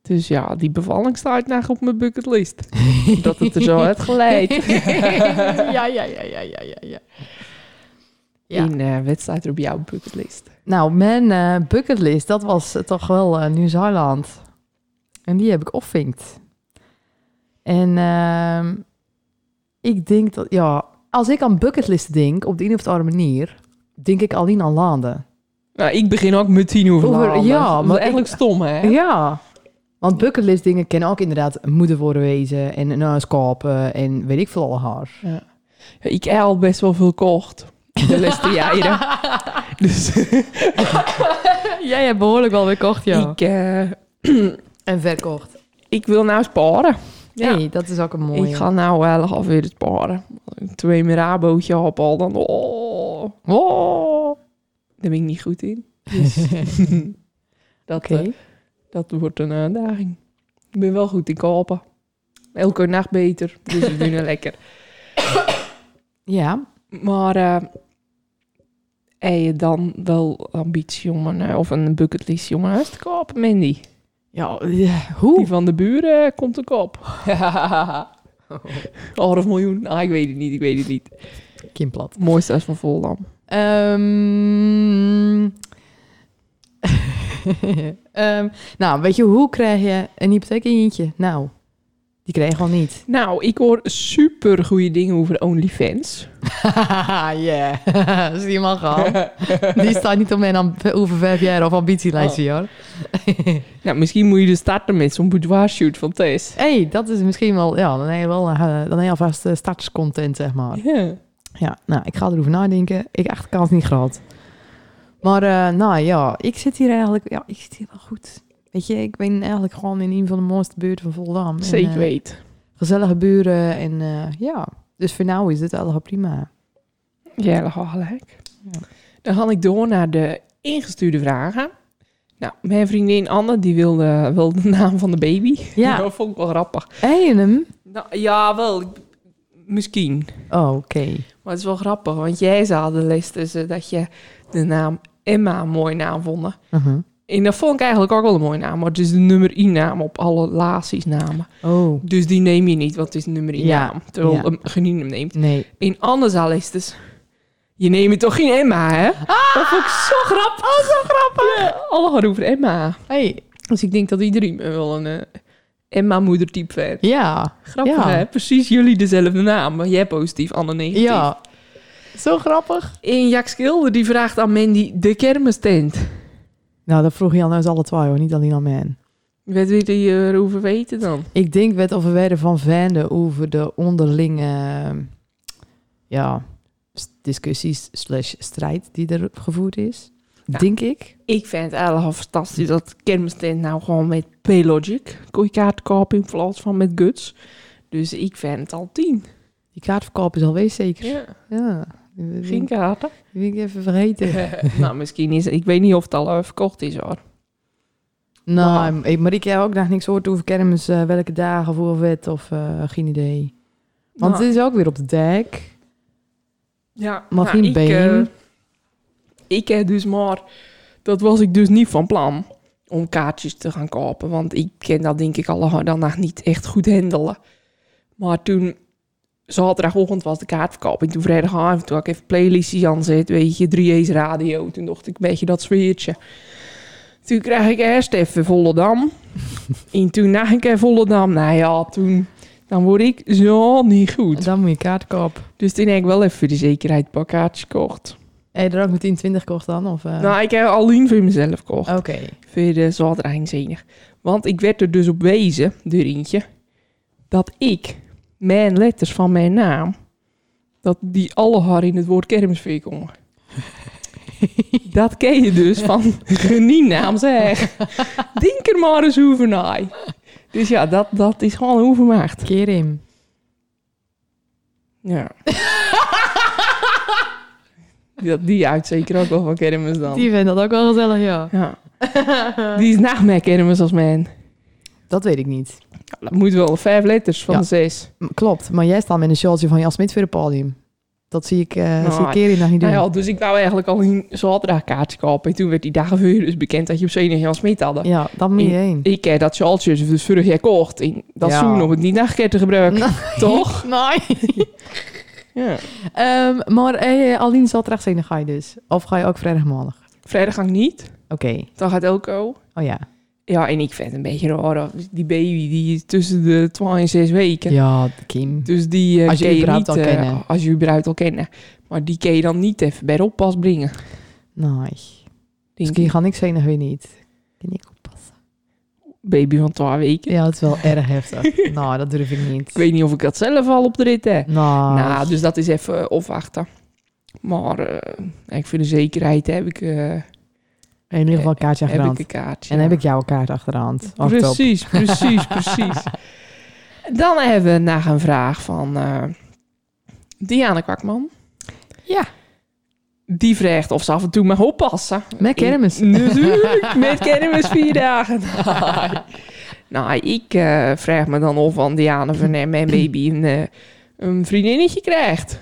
S3: Dus ja, die bevalling staat nog op mijn bucketlist. dat het er zo uit geleid.
S1: ja, ja, ja, ja, ja, ja, ja. Ja.
S3: In eh wat staat er op jouw bucketlist?
S1: Nou, mijn eh, bucketlist, dat was eh, toch wel eh, Nieuw-Zeeland. En die heb ik opvinkt. En ehm, ik denk dat, ja, als ik aan bucketlisten denk, op de een of andere manier, denk ik alleen aan landen.
S3: Nou, ik begin ook met tien uur
S1: Over-
S3: vanavond.
S1: ja,
S3: Dat is
S1: maar
S3: eigenlijk stom, hè?
S1: Ja. Want bucketlist dingen kennen ook inderdaad moeder worden wezen en een huis kopen en weet ik veel alle haar.
S3: Ja, ik heb al best wel veel kocht de laatste jaren. dus
S1: Jij hebt behoorlijk wel weer kocht,
S3: ik, eh,
S1: En verkocht.
S3: ik wil nou sparen.
S1: Nee, dat is ook een mooie.
S3: Ik ga nou wel alweer het paren. Twee meer rabootje op al dan. Oh, oh. Daar ben ik niet goed in. Dus, dat,
S1: Oké.
S3: eh, dat wordt een uitdaging. Ik ben wel goed in kopen. Elke nacht beter. Dus ik doe het lekker.
S1: Ja.
S3: Maar eh, heb je dan wel ambitie om een, eh, of een bucketlist om een huis te kopen, Mandy?
S1: Ja, ja, hoe?
S3: Die van de buren eh, komt ook op. Half miljoen? Ah, ik weet het niet, ik weet het niet.
S1: Kim plat.
S3: Het mooiste huis van Volendam.
S1: Ehm. Ehm, nou, weet je, hoe krijg je een hypotheek in je eentje? Nou, die krijg je gewoon niet.
S3: Nou, ik hoor super goede dingen over OnlyFans.
S1: Ja, dat is die man gewoon. Die staat niet op mijn amb- over vijf jaar of ambitielijstje, hoor.
S3: Nou, misschien moet je dus starten met zo'n boudoir shoot van Tess.
S1: Hé, hey, dat is misschien wel... Ja, dan heb je wel eh, dan heb je alvast eh, starterscontent, zeg maar.
S3: Ja.
S1: Ja, nou, ik ga erover nadenken. Ik acht de kans niet groot. Maar eh, nou ja, ik zit hier eigenlijk... Ja, ik zit hier wel goed. Weet je, ik ben eigenlijk gewoon in een van de mooiste buurten van Volendam. En,
S3: Zeker
S1: eh,
S3: weet.
S1: gezellige buren en eh, ja. Dus voor nu is dit allemaal prima.
S3: Ja, dat gaat gelijk.
S1: Ja.
S3: Dan ga ik door naar de ingestuurde vragen. Nou, mijn vriendin Anne, die wilde wel de naam van de baby.
S1: Ja. H&M.
S3: Dat vond ik wel grappig.
S1: En hem?
S3: Nou, ja, wel. ik- Misschien.
S1: Oh, oké.
S3: Maar het is wel grappig, want jij zei al de les tussen dat je de naam Emma een mooie naam vond.
S1: Mhm.
S3: En dat vond ik eigenlijk ook wel een mooie naam, maar het is de nummer 1 naam op alle laties namen.
S1: Oh,
S3: Dus die neem je niet, want het is de nummer 1
S1: Ja,
S3: naam. Terwijl
S1: ja.
S3: een genien hem neemt.
S1: nee.
S3: In anders al is dus. Je neemt toch geen Emma, hè?
S1: Ah!
S3: Dat vond ik zo grappig. Oh, zo grappig. alle gaan over Emma.
S1: Hey,
S3: Dus ik denk dat iedereen wel een eh, Emma-moedertype vindt.
S1: ja.
S3: Grappig,
S1: Ja.
S3: hè? Precies jullie dezelfde naam. maar Jij positief, Anne negatief.
S1: Ja. Zo grappig.
S3: En Jack Schilder die vraagt aan Mandy de kermistent.
S1: Nou, dat vroeg je al nou eens alle twee hoor, niet alleen aan mij.
S3: Wat wil je eh, erover weten dan?
S1: Ik denk werd of we werden van Vende over de onderlinge ja, s- discussies slash strijd die er gevoerd is.
S3: Ja.
S1: Denk ik.
S3: Ik vind het eigenlijk fantastisch dat kermistent nou gewoon met Paylogic kon je kaart kopen in plaats van met Guts. Dus ik vind het al tien.
S1: Die kaartverkoop is alweer zeker.
S3: Ja,
S1: Ja. Die
S3: geen
S1: ben
S3: kaarten.
S1: ik even vergeten.
S3: nou, misschien is het... Ik weet niet of het al eh, verkocht is, hoor.
S1: Nou,
S3: Wauw.
S1: ik- maar ik heb ook nog niks gehoord over kermis, eh, welke dagen voor wet of eh, geen idee. Want
S3: Nou,
S1: het is ook weer op de dek.
S3: ja,
S1: mag geen
S3: Ik, eh,
S1: been.
S3: ik heb dus maar... Dat was ik dus niet van plan om kaartjes te gaan kopen. Want ik ken dat denk ik al dan nog niet echt goed handelen. Maar toen... Zaterdagochtend was de kaartverkoop. En toen vrijdagavond, toen had ik even playlistjes aan zet, weet je, 3A's radio. Toen dacht ik, een beetje dat sfeertje. Toen kreeg ik eerst even Volendam. en toen na ik even Volendam. Nou ja, toen... Dan word ik zo niet goed.
S1: Dan moet je kaart kopen.
S3: Dus toen heb ik wel even voor de zekerheid een paar kaartjes gekocht.
S1: Heb je er ook meteen 20 kocht dan? Of, eh?
S3: Nou, ik heb alleen voor mezelf gekocht.
S1: Oké.
S3: Voor de zaterdag Want ik werd er dus op wezen, door eentje, dat ik mijn letters van mijn naam, dat die alle haar in het woord kermisfeer komen. dat ken je dus van genienaam zeg. Denk er maar eens over na. Dus ja, dat, dat is gewoon overmaagd.
S1: Keer in.
S3: Ja. die, die uit zeker ook wel van kermis dan.
S1: Die vindt dat ook wel gezellig, ja.
S3: Ja. die is na mij kermis als man.
S1: Dat weet ik niet.
S3: Dat moet wel vijf letters van
S1: Ja.
S3: de zes.
S1: M- Klopt, maar jij staat met een shortje van Jan Smit voor het podium. Dat zie ik, eh
S3: Nou,
S1: zie ik Kerin nog niet doen.
S3: Nou ja, dus ik wou eigenlijk al een zaterdagkaartje kopen. En toen werd die dagen voor dus bekend dat je op zenuw Jan Smit hadden.
S1: ja, dan moet je heen.
S3: Ik heb dat sjaaltje dus vorig jaar kocht. En dat
S1: Ja.
S3: zoen om het niet naar te gebruiken. Toch?
S1: Nee.
S3: Ja.
S1: Ehm, maar eh, alleen zaterdag zijn dan ga je dus. Of ga je ook vrijdagmaandag?
S3: Vrijdag ga ik niet.
S1: Oké.
S3: Dan gaat Elko.
S1: Oh ja.
S3: Ja, en ik vind het een beetje raar. Die baby die is tussen de 12 en 6 weken.
S1: Ja, Kim.
S3: Dus die eh,
S1: Als je
S3: ken
S1: überhaupt
S3: niet,
S1: al
S3: eh,
S1: kennen.
S3: Als je überhaupt al kennen. Maar die kun je dan niet even bij de oppas brengen.
S1: Nee.
S3: Denk
S1: Misschien
S3: ik.
S1: ga ik zenuwen weer niet. Kan ik oppassen?
S3: Baby van 12 weken.
S1: Ja, het is wel erg heftig. nou, dat durf ik niet.
S3: Ik weet niet of ik dat zelf al op de rit heb.
S1: Nou,
S3: Nou, dus dat is even eh, afwachten. Maar eh, ik vind de zekerheid heb ik, eh,
S1: in ieder geval kaartje aan
S3: dus heb ik
S1: gerand.
S3: een kaartje.
S1: En heb ik jouw kaart achterhand. Of top.
S3: Precies, precies, precies. Dan hebben we nog een vraag van eh Diana Kwakman.
S1: Ja.
S3: Die vraagt of ze af en toe mag oppassen.
S1: Met kermis.
S3: Ik- natuurlijk, met kermis vier dagen. Nee. nou, ik eh, vraag me dan of aan Diana van eh, mijn baby een, eh, een vriendinnetje krijgt.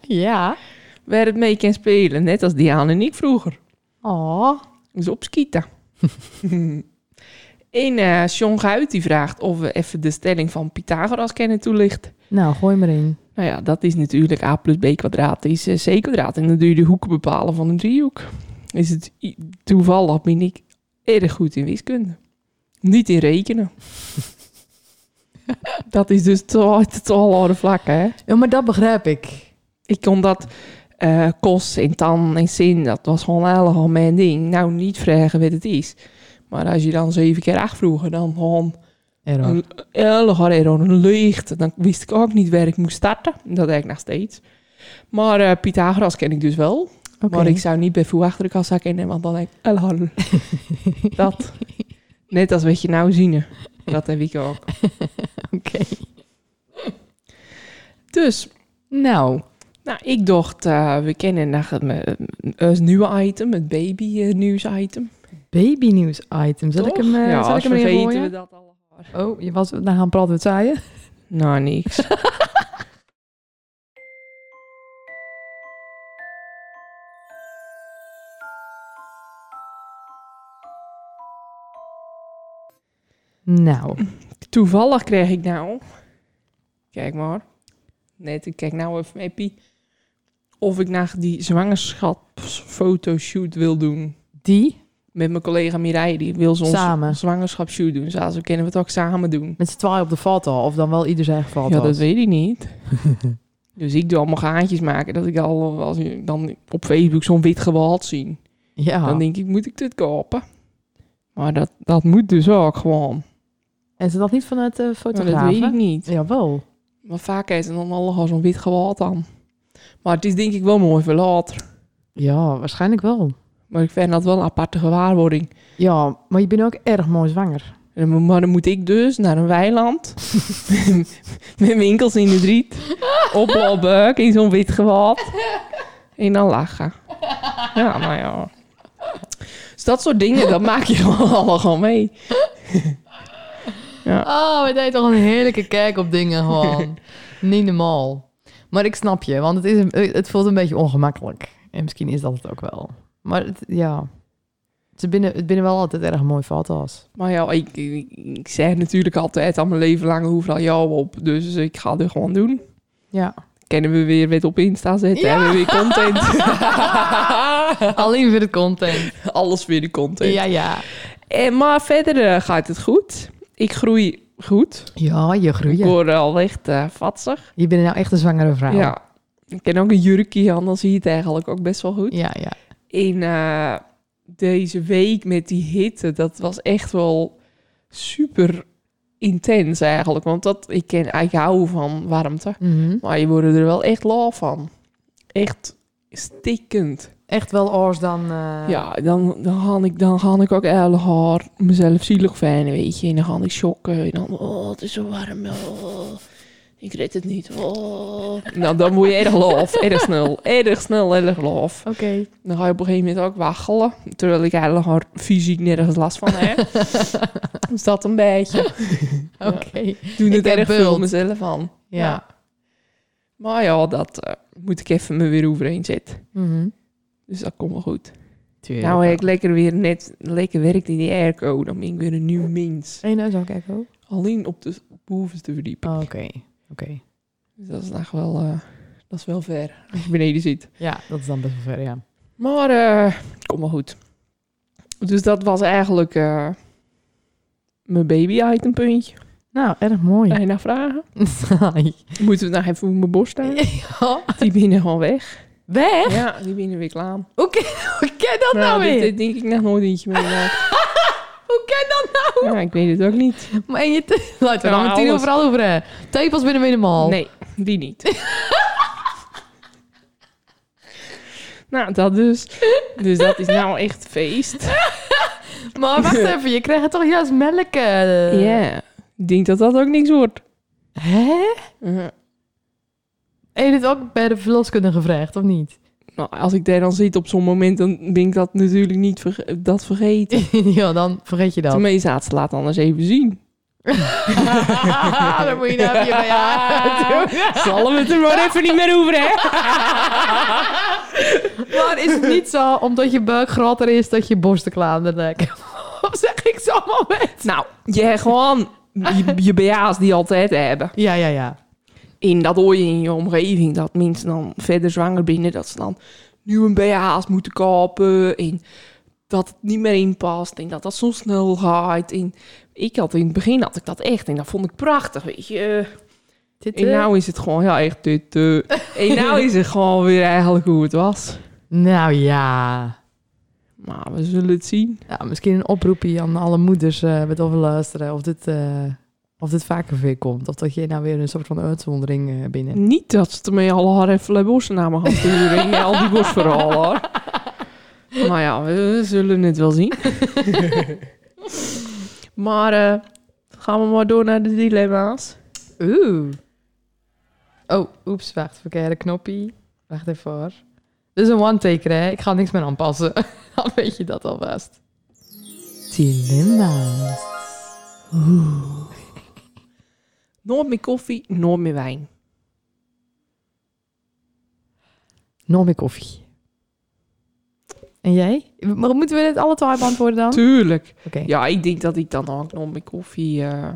S1: Ja.
S3: waar het mee kan spelen. Net als Diane en ik vroeger.
S1: Oh,
S3: Dus op skieten. en eh John Guit die vraagt of we even de stelling van Pythagoras kennen toelichten.
S1: nou, gooi maar in.
S3: Nou ja, dat is natuurlijk a plus b kwadraat is eh, c kwadraat. En dan doe je de hoeken bepalen van een driehoek. Is het i- toevallig ben ik erg goed in wiskunde. Niet in rekenen. dat is dus totaal totaal vlak, hè?
S1: Ja, maar dat begrijp ik.
S3: Ik kon dat eh, kos en tan en zin, dat was gewoon allemaal mijn ding. Nou, niet vragen wat het is. Maar als je dan zeven keer acht vroeg, dan gewoon
S1: Error.
S3: een erg error, een licht. Dan wist ik ook niet waar ik moest starten. Dat deed ik nog steeds. Maar eh, Pythagoras ken ik dus wel.
S1: Oké.
S3: Maar ik zou niet bij voet achter de kassa kennen, want dan denk ik, elhal. dat. Net als wat je nou zien. Dat heb ik ook.
S1: Oké.
S3: Dus,
S1: Nou,
S3: nou, ik dacht, eh, we kennen nog een, eh, een nieuwe item, het baby eh, nieuws item.
S1: baby nieuws item. Zal ik
S3: Toch?
S1: hem, eh
S3: ja,
S1: zal ik
S3: als
S1: hem erin
S3: vergeten
S1: gooien?
S3: we dat allemaal.
S1: Oh, je was naar gaan praten met zaaien.
S3: Nou, niks.
S1: Nou,
S3: Toevallig kreeg ik nou. Kijk maar. Net, ik kijk nou even mee, Pie. Of ik naar die zwangerschapsfotoshoot wil doen.
S1: die
S3: Met mijn collega Mireille. Die wil zo'n
S1: Samen.
S3: zwangerschapsshoot doen. Zoals we kennen we het ook samen doen.
S1: met z'n twaalf op de foto. Of dan wel ieder zijn foto.
S3: Ja, dat weet ik niet. dus ik doe allemaal gaatjes maken. Dat ik al, als ik dan op Facebook zo'n wit gewalt zie.
S1: Ja.
S3: Dan denk ik, moet ik dit kopen? Maar dat, dat moet dus ook gewoon.
S1: En ze dat niet vanuit de
S3: Maar
S1: fotograaf?
S3: dat weet ik niet.
S1: Jawel.
S3: Maar vaak is het dan allemaal zo'n wit gewaad aan. Maar het is denk ik wel mooi voor later.
S1: Ja, waarschijnlijk wel.
S3: Maar ik vind dat wel een aparte gewaarwording.
S1: Ja, maar je bent ook erg mooi zwanger.
S3: En- Maar dan moet ik dus naar een weiland. met winkels in de driet. Op Lobbeuk in zo'n wit gewaad. En dan lachen. Ja, nou ja. Dus dat soort dingen, dat maak je gewoon allemaal mee.
S1: Oh, we deed toch een heerlijke kijk op dingen gewoon. niet normaal. Maar ik snap je, want het, is een- het voelt een beetje ongemakkelijk. En misschien is dat het ook wel. Maar het, ja, ze binnen, het binnen wel altijd erg mooi foto's.
S3: Maar ja, ik, ik, ik zeg natuurlijk altijd al mijn leven lang hoeveel jou op. Dus ik ga het gewoon doen.
S1: Ja.
S3: kennen we weer wat op Insta zetten. Hebben we weer content.
S1: Alleen voor de content.
S3: Alles weer de content.
S1: Ja, ja.
S3: En, maar verder eh, gaat het goed. Ik groei goed.
S1: Ja, je
S3: Ik
S1: groeit.
S3: word al echt eh, vatsig.
S1: Je bent nou echt een zwangere vrouw.
S3: Ja. Ik ken ook een jurkje aan, dan zie je het eigenlijk ook best wel goed.
S1: Ja, ja.
S3: In eh, deze week met die hitte, dat was echt wel super intens eigenlijk. Want dat, ik, ken, ik hou van warmte.
S1: Mhm.
S3: Maar je wordt er wel echt lauw van. Echt stikkend.
S1: Echt wel oors dan... eh,
S3: Ja, dan, dan, ga ik, dan ga ik ook heel hard mezelf zielig vinden, weet je. En dan ga ik shocken. En dan, oh, het is zo warm. oh, ik red het niet. Oh. Nou, dan moet je erg lof. Erg snel. Erg snel, erg lof.
S1: Oké.
S3: Dan ga je op een gegeven moment ook waggelen. Terwijl ik heel hard fysiek nergens last van heb. Is dat een beetje.
S1: Oké.
S3: Ik doe het
S1: heb
S3: erg veel
S1: bult.
S3: mezelf aan.
S1: Ja.
S3: Maar ja, dat eh, moet ik even me weer overheen zetten.
S1: Mhm.
S3: Dus dat komt wel goed.
S1: Tuurlijk.
S3: Nou, ik lekker weer net lekker werkt in die airco. Dan ben ik weer een nieuw mens.
S1: Hey, nou zo kijken ook.
S3: Alleen op de bovenste verdieping.
S1: Oké. Oké.
S3: Oh, Dus dat is nog wel, eh, dat is wel ver. Als je beneden zit.
S1: Ja, dat is dan best wel ver, ja.
S3: Maar eh kom maar goed. Dus dat was eigenlijk eh, mijn baby item puntje.
S1: Nou, erg mooi.
S3: Ga je naar vragen?
S1: Saai.
S3: Moeten we het nog even op mijn borst staan?
S1: Ja.
S3: Die binnen gewoon weg.
S1: Weg?
S3: Ja, die binnen weer klaar.
S1: Hoe ken, hoe ken dat nou,
S3: dit,
S1: weer?
S3: dit denk ik nog nooit eentje meer. gemaakt.
S1: Hoe ken dat nou?
S3: Ja, ik weet het ook niet.
S1: Maar en je te- Laten we
S3: Nou,
S1: dan met tien
S3: alles.
S1: overal over hebben. Tepels binnen minimaal.
S3: Nee, die niet. nou, dat dus. Dus dat is nou echt feest.
S1: Maar wacht even, je krijgt toch juist melk?
S3: Ja,
S1: eh?
S3: ik denk dat dat ook niks wordt.
S1: Hè? Heb je dit ook bij de verloskundige gevraagd, of niet?
S3: Nou, als ik daar dan zit op zo'n moment, dan ben ik dat natuurlijk niet verge- dat vergeten.
S1: ja, dan vergeet je dat.
S3: Tenminste, laat- laat anders even zien.
S1: dan moet je
S3: Ah.
S1: nou even je bij haar doen.
S3: Zal we het er maar even niet meer over, hè?
S1: Maar is het niet zo, omdat je buik groter is, dat je borsten klaar nek? Of zeg ik zo moment?
S3: Nou, je hebt gewoon je, je BA's die altijd hebben.
S1: Ja, ja, ja.
S3: En dat hoor je in je omgeving, dat mensen dan verder zwanger binnen, dat ze dan nieuwe BH's moeten kopen en dat het niet meer inpast en dat dat zo snel gaat. En ik had in het begin had ik dat echt en dat vond ik prachtig, weet je.
S1: Dit, eh,
S3: En nou is het gewoon, ja echt dit. eh. En nou
S2: Oh.
S3: is het gewoon weer eigenlijk hoe het was.
S1: nou ja.
S3: Maar we zullen het zien.
S1: Ja, misschien een oproepje aan alle moeders eh, met overluisteren. Of dit, eh, of dit vaker weer komt. Of dat je nou weer een soort van uitzondering eh, binnen.
S3: Niet dat ze ermee alle haar en borsten naar me gaan sturen en al die borstverhalen hoor. Maar ja, we zullen het wel zien. maar eh, gaan we maar door naar de dilemma's.
S1: Oeh. Oh, oeps, wacht. Verkeerde knoppie. Wacht even hoor. Dit is een one-taker, hè? Ik ga niks meer aanpassen. Dan weet je dat alvast. Dilemma's.
S3: Nooit meer koffie, nooit meer wijn.
S1: Nog meer koffie. En jij? Maar moeten we dit alle twee beantwoorden dan? Oké.
S3: Tuurlijk. Ja, ik denk dat ik dan ook nooit meer koffie... eh,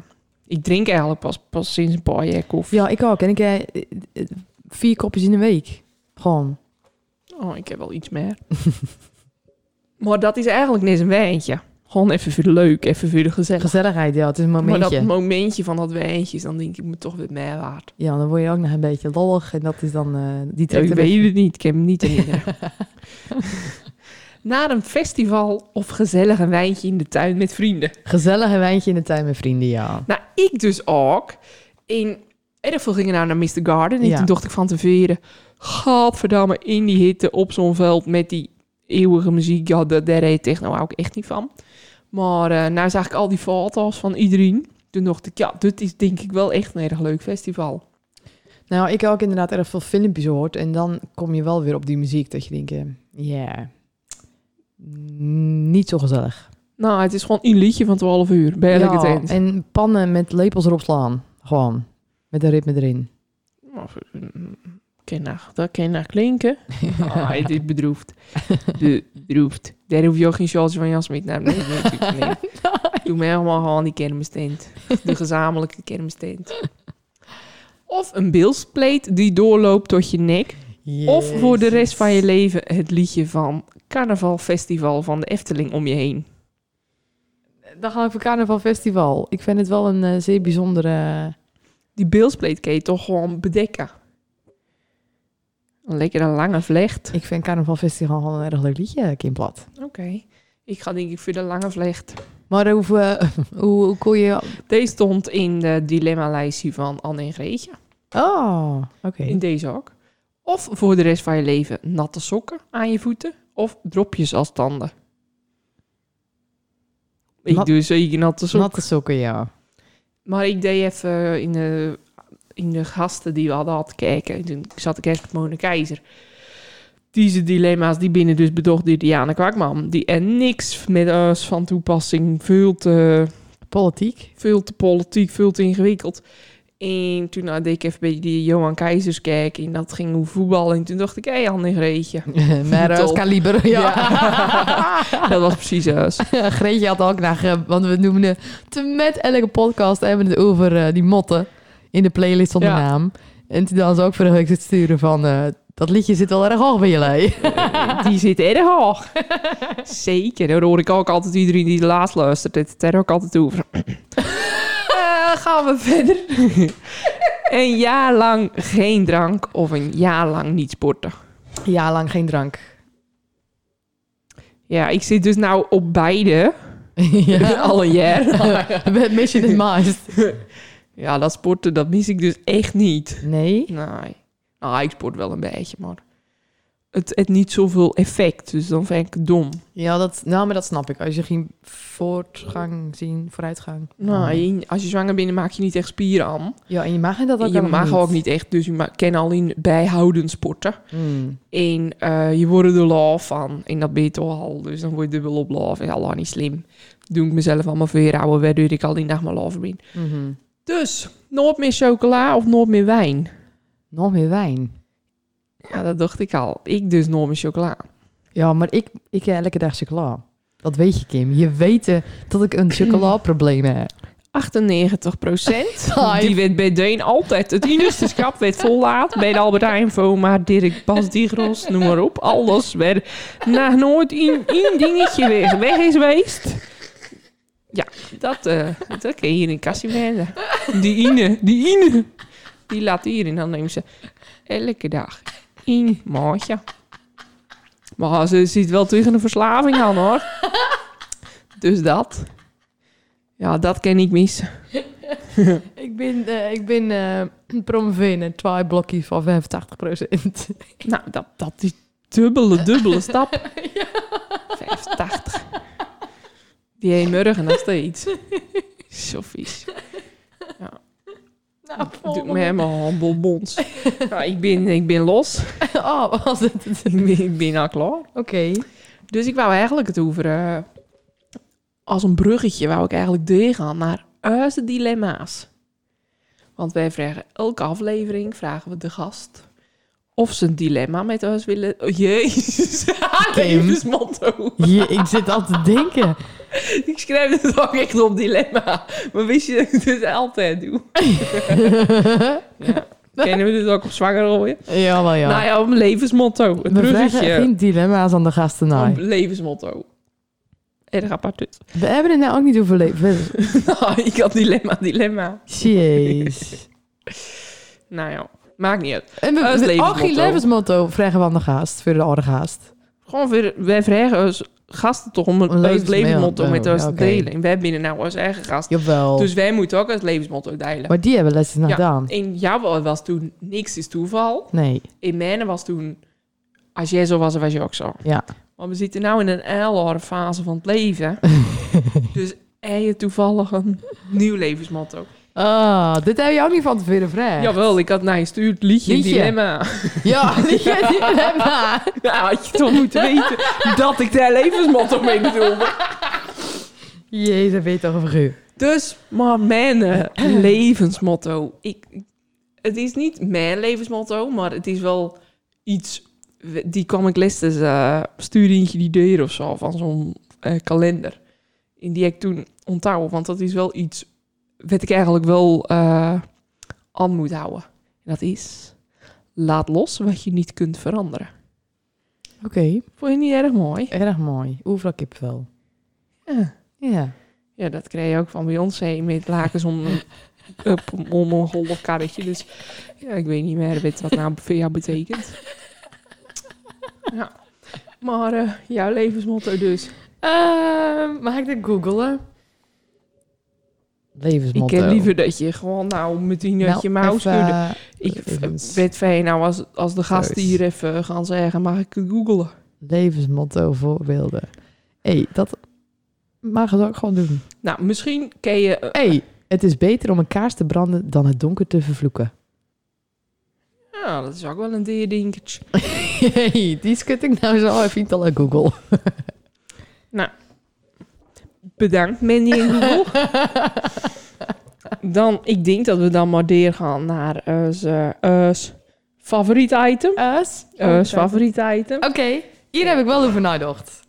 S3: ik drink eigenlijk pas, pas sinds een paar jaar koffie.
S1: Ja, ik ook. En ik eh, eh, vier kopjes in de week. Gewoon.
S3: Oh, ik heb wel iets meer. maar dat is eigenlijk net een wijntje. Gewoon even voor de leuk, even voor de gezelligheid.
S1: Gezelligheid, ja. Het is een momentje.
S3: Maar dat momentje van dat wijntje is dan denk ik me toch weer meer waard.
S1: Ja, dan word je ook nog een beetje lollig. En dat is dan... eh, die
S3: Ja,
S1: trekt
S3: ik
S1: er weer-
S3: weet het niet, ik heb hem niet herinnerd. Naar een festival of gezellig een wijntje in de tuin met vrienden.
S1: Gezellig een wijntje in de tuin met vrienden, ja.
S3: Nou, ik dus ook. In Erfel gingen nou naar Mr. Garden. En
S1: Ja.
S3: toen dacht ik van tevoren... Gadverdamme, in die hitte op zo'n veld met die eeuwige muziek. Ja, daar, daar reed techno hou ik echt niet van. Maar eh nou zag ik al die foto's van iedereen. Toen dacht ik, ja, dit is denk ik wel echt een erg leuk festival.
S1: Nou, ik heb ook inderdaad erg veel filmpjes gehoord. En dan kom je wel weer op die muziek dat je denkt... eh, Ja, mm, niet zo gezellig.
S3: Nou, het is gewoon een liedje van 12 uur. Ben ik het
S1: Ja,
S3: eens?
S1: en pannen met lepels erop slaan. Gewoon. Met een ritme erin.
S3: Of, mm, ken naar- Dat kan naar klinken. Ah, het is bedroefd. Bedroefd. Daar hoef je ook geen sjaaltje van Jasmit naar Nee, nee, natuurlijk niet. Doe mij allemaal gewoon die kermistent. De gezamenlijke kermistent. Of een bilspleet die doorloopt tot je nek. Of voor de rest van je leven het liedje van Carnaval Festival van de Efteling om je heen.
S1: Dan gaan we voor Carnaval Festival. Ik vind het wel een eh, zeer bijzondere...
S3: Die bilspleet kan je toch gewoon bedekken. Een lekkere lange vlecht.
S1: Ik vind Carnaval Festival wel een erg leuk liedje, Kim Plat.
S3: Oké. Ik ga denk ik voor de lange vlecht.
S1: Maar hoe, eh, hoe, hoe kon je...
S3: Deze stond in de dilemma-lijstje van Anne en Greetje.
S1: Oh, oké.
S3: In deze ook. Of voor de rest van je leven natte sokken aan je voeten. Of dropjes als tanden. Ik
S1: Nat-
S3: doe zeker natte sokken.
S1: Natte sokken, ja.
S3: Maar ik deed even eh, in de, in de gasten die we hadden had kijken. En toen zat ik echt met Mona Keizer. Deze dilemma's die binnen dus bedocht door Diana Kwakman. Die er niks met ons van toepassing. eh, Veel te
S1: Politiek.
S3: veel te politiek, veel te ingewikkeld. En toen nou, deed ik even bij die Johan Keizers kijken en dat ging over voetbal. En toen dacht ik, hé, hey, Anne en Greetje.
S1: Met
S3: Top.
S1: als kaliber, ja.
S3: dat was precies us.
S1: Greetje had ook naar, eh, want we noemen de- te met elke podcast hebben we het over eh, die motten in de playlist zonder
S3: Ja.
S1: naam. En toen dan ze ook voor de week het sturen van, "Oh, eh, dat liedje zit wel erg hoog bij jullie.
S3: Die zit erg hoog. Zeker, daar hoor ik ook altijd iedereen die het laatst luistert. Dit het er ook altijd over. Eh, gaan we verder. een jaar lang geen drank of een jaar lang niet sporten.
S1: Ja, lang geen drank.
S3: Ja, ik zit dus nou op beide
S1: ja.
S3: al een jaar.
S1: Met Mission in Mind.
S3: ja, dat sporten, dat mis ik dus echt niet.
S1: Nee?
S3: Nee. Nou, ik sport wel een beetje, maar het heeft niet zoveel effect. Dus dan vind ik het dom.
S1: Ja, dat, nou, maar dat snap ik. Als je geen voortgang zien, vooruitgang.
S3: Nou, als je zwanger bent, dan maak je niet echt spieren aan.
S1: Ja, en je mag dat ook
S3: je
S1: helemaal
S3: mag ook niet echt, dus je ma- kan alleen bijhoudend sporten.
S1: Mm.
S3: En eh, je wordt er laaf van. En dat ben je toch al. Dus dan word je dubbel op laaf. En Allah, niet slim. Doe ik mezelf allemaal verhouden, waardoor ik al die dag maar laaf ben.
S1: Mhm.
S3: Dus, nooit meer chocola of nooit meer wijn?
S1: Nog meer wijn.
S3: Ja, dat dacht ik al. Ik dus nooit meer chocola.
S1: Ja, maar ik, ik heb elke dag chocola. Dat weet je, Kim. Je weet eh, dat ik een chocolaprobleem heb.
S3: 98
S1: Nou,
S3: Die werd bij Deen altijd het enigste schap werd vollaat. Bij de Albert Heijn, Voma, Dirk, Bas, Digros, noem maar op. Alles werd na nooit één één dingetje weg, weg is geweest. Ja, dat, eh, dat kun je hier in Cassie vinden. Die Ine, die Ine. Die laat hier en dan neemt ze elke dag één maatje. Maar ze zit wel tegen een verslaving aan hoor. Dus dat. Ja, dat ken ik mis.
S1: Ik ben, eh, ik ben eh promoveen en twee blokjes van 85
S3: Nou, dat, dat is dubbele, dubbele stap. 85. Die heen morgen nog steeds. Zo vies.
S1: Nou,
S3: Doe me helemaal handelbons. Nou, ik, ben, ik ben los.
S1: Oh, was het? Oké.
S3: Ik ben, ik ben al klaar. Dus ik wou eigenlijk het over... eh, als een bruggetje wou ik eigenlijk doorgaan naar onze dilemma's. Want wij vragen elke aflevering, vragen we de gast... Of ze een dilemma met ons willen... Oh, jezus, levensmotto.
S1: Je, ik zit al te denken.
S3: Ik schrijf het ook echt op dilemma. Maar wist je dat ik dit altijd doe? ja. Kennen we dit ook op zwanger rooien?
S1: ja, wel ja.
S3: Nou ja, op een levensmotto. Het
S1: We vragen
S3: bruggetje.
S1: geen dilemma's aan de gasten. nou.
S3: Een
S1: Nee.
S3: levensmotto. Erg apart dus.
S1: We hebben het nou ook niet over leven.
S3: Nou, ik had dilemma, dilemma.
S1: Jeez.
S3: Nou ja, maakt niet uit.
S1: En we,
S3: Dat is
S1: we- ook
S3: levensmotto.
S1: geen levensmotto vragen we aan de gast. Voor de oude gast.
S3: Gewoon, weer- wij vragen als gasten toch om een,
S1: Een
S3: ons levensmotto
S1: levensmotto,
S3: met ons te
S1: ja, oké.
S3: delen. En wij binnen nou ons eigen gast.
S1: Jawel.
S3: Dus wij moeten ook ons levensmotto delen.
S1: maar die hebben les nog
S3: Ja.
S1: gedaan.
S3: In jouw was toen niks is toeval.
S1: Nee.
S3: in mijn was toen, als jij zo was, dan was je ook zo.
S1: Ja.
S3: Maar we zitten nu in een eilhare fase van het leven. dus en je toevallig een nieuw levensmotto.
S1: Ah, dit heb je ook niet van tevoren vragen.
S3: Jawel, ik had naar je stuurd liedje,
S1: Liedje.
S3: dilemma.
S1: Ja, die dilemma.
S3: Nou, had je toch moeten weten dat ik daar levensmotto mee bedoelde.
S1: Jezus, dat weet toch een figuur.
S3: Dus, maar mijn eh, levensmotto. Ik, het is niet mijn levensmotto, maar het is wel iets. Die kwam ik les dus, eh sturingje die deur of zo van zo'n eh, kalender. In die heb ik toen onthouden, want dat is wel iets wat ik eigenlijk wel eh, aan moet houden. En dat is laat los wat je niet kunt veranderen.
S1: Oké,
S3: Vond je niet erg mooi?
S1: erg mooi. Overal kipvel.
S3: Ja.
S1: Ja.
S3: Ja, dat kreeg je ook van Beyoncé met lakens om een, op, om een golf karretje. Dus ja, ik weet niet meer weet wat nou voor jou betekent. Ja. Maar eh, jouw levensmotto dus. Ehm,
S1: mag ik dit googelen? Levensmotto.
S3: Ik heb liever dat je gewoon nou meteen uit je mouw
S1: eh,
S3: schudde. Ik v-
S1: levens-
S3: weet fijn nou als, als de gast
S1: Thuis.
S3: hier even gaan zeggen, mag ik het googelen?
S1: Levensmotto voorbeelden. Hé, hey, dat mag het ook gewoon doen.
S3: Nou, misschien ken je... eh,
S1: Hé, hey, het is beter om een kaars te branden dan het donker te vervloeken.
S3: nou, dat is ook wel een deerdinkertje.
S1: Hey, die skut ik nou zo even al aan Google.
S3: Bedankt, Mandy en Google. dan, ik denk dat we dan maar door gaan naar ons eh, ons favoriet item.
S1: Oh, Us?
S3: Ons favoriet item.
S1: Oké, hier heb ik wel over nagedacht.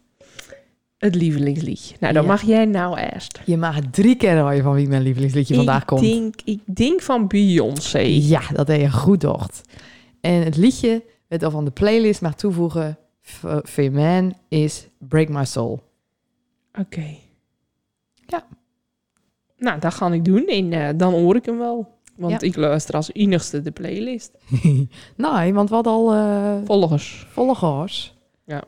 S3: Het lievelingsliedje. Nou, dan
S1: Ja.
S3: mag jij nou eerst.
S1: Je mag drie keer rooien van wie mijn lievelingsliedje vandaag komt.
S3: Ik denk, ik denk van Beyoncé.
S1: Ja, dat deed je goed, docht. En het liedje, het al van de playlist mag toevoegen, v- van Man is Break My Soul.
S3: Oké.
S1: Ja.
S3: Nou, dat ga ik doen en eh, dan hoor ik hem wel. Want ik luister als enigste de playlist.
S1: nee, want wat al eh
S3: Volgers.
S1: volgers.
S3: Ja.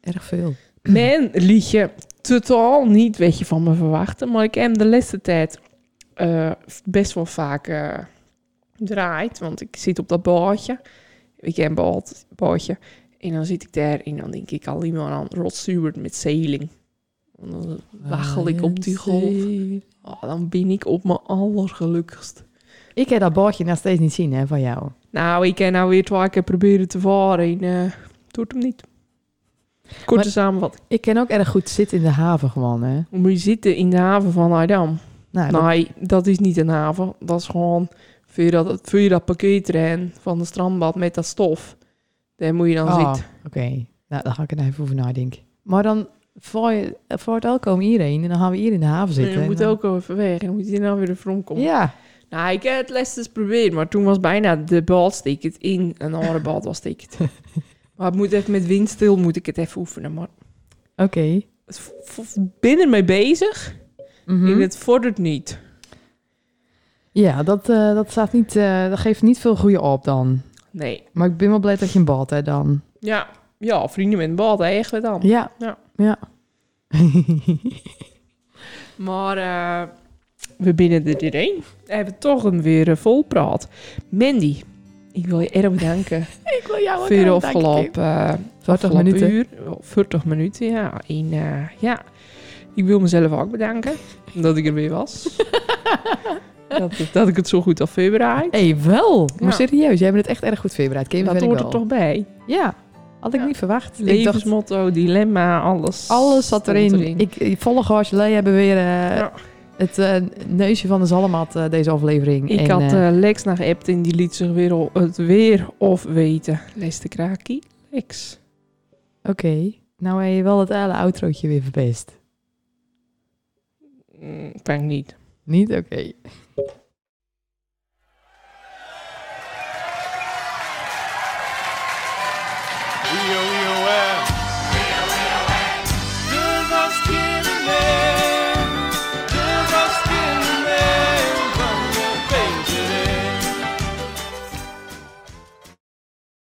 S1: Erg veel.
S3: Mijn liedje totaal niet weet je van me verwachten. Maar ik heb hem de laatste tijd eh, best wel vaak eh draait. Want ik zit op dat bootje. Ik heb een boot- bootje. En dan zit ik daar en dan denk ik alleen maar aan Rod Stewart met Sailing. En dan wachel ik op die golf. Oh, dan ben ik op mijn allergelukkigst.
S1: Ik heb dat bordje nog steeds niet zien hè, van jou.
S3: Nou, ik heb nou weer twee keer proberen te varen en eh, het doet hem niet. Korte
S1: Maar-
S3: samenvatting.
S1: Ik ken ook erg goed zitten in de haven gewoon, hè.
S3: Hoe moet je zitten in de haven van Adam?
S1: Nou, dat-
S3: Nee, dat is niet een haven. Dat is gewoon, vul je dat, vul je dat pakketrein van de strandbad met dat stof. Daar moet je dan
S1: Oh,
S3: zitten.
S1: Oké. Nou, daar ga ik er even over nadenken. Maar dan voor, je, voor het al komen hierheen en dan gaan we hier in de haven
S3: En
S1: zitten.
S3: je moet
S1: En dan-
S3: ook even weg. En dan moet je nou weer de komen.
S1: Ja,
S3: Nou, ik heb het lestens geprobeerd, maar toen was bijna de balsticket in een andere bal was ticket. maar het moet even met windstil moet ik het even oefenen. Maar
S1: oké.
S3: het v- v- ben ermee bezig
S1: Mhm.
S3: en het vordert niet.
S1: Ja, dat, eh, dat, staat niet, eh, dat geeft niet veel goede op dan.
S3: Nee.
S1: Maar ik ben wel blij dat je een bal hebt dan.
S3: Ja, ja vrienden met een bal, dat echt wel dan.
S1: Ja.
S3: Ja.
S1: ja.
S3: Maar eh, we binnen er doorheen. We hebben toch een weer eh, vol praat. Mandy, ik wil je erg bedanken
S1: Oh, ik wil jou
S3: voor je afgelopen... eh,
S1: 40
S3: afgelopen
S1: minuten.
S3: uur. Oh, 40 minuten, ja. En, eh, ja. Ik wil mezelf ook bedanken dat ik er weer was. dat, dat ik het zo goed had voorbereid.
S1: Hé, hey, wel.
S3: Ja.
S1: Maar serieus, jij bent het echt erg goed voorbereid. Kim,
S3: Dat
S1: vind ik
S3: hoort er
S1: wel.
S3: toch bij.
S1: Ja, had ik
S3: Ja.
S1: niet verwacht. Ik dacht,
S3: Levensmotto, dilemma, alles.
S1: alles zat
S3: stond
S1: erin. Ik, ik volgers, Lee hebben weer eh,
S3: Ja.
S1: het eh, neusje van de zalmat eh, deze aflevering.
S3: Ik
S1: En,
S3: had
S1: eh,
S3: eh, Lex naar geappt en die liet zich weer al het weer of weten. Lees de kraakie. Lex.
S1: Oké, nou heb je wel het hele outrootje weer verpest.
S3: Mm, Fijn niet.
S1: Niet? Oké.
S4: Rio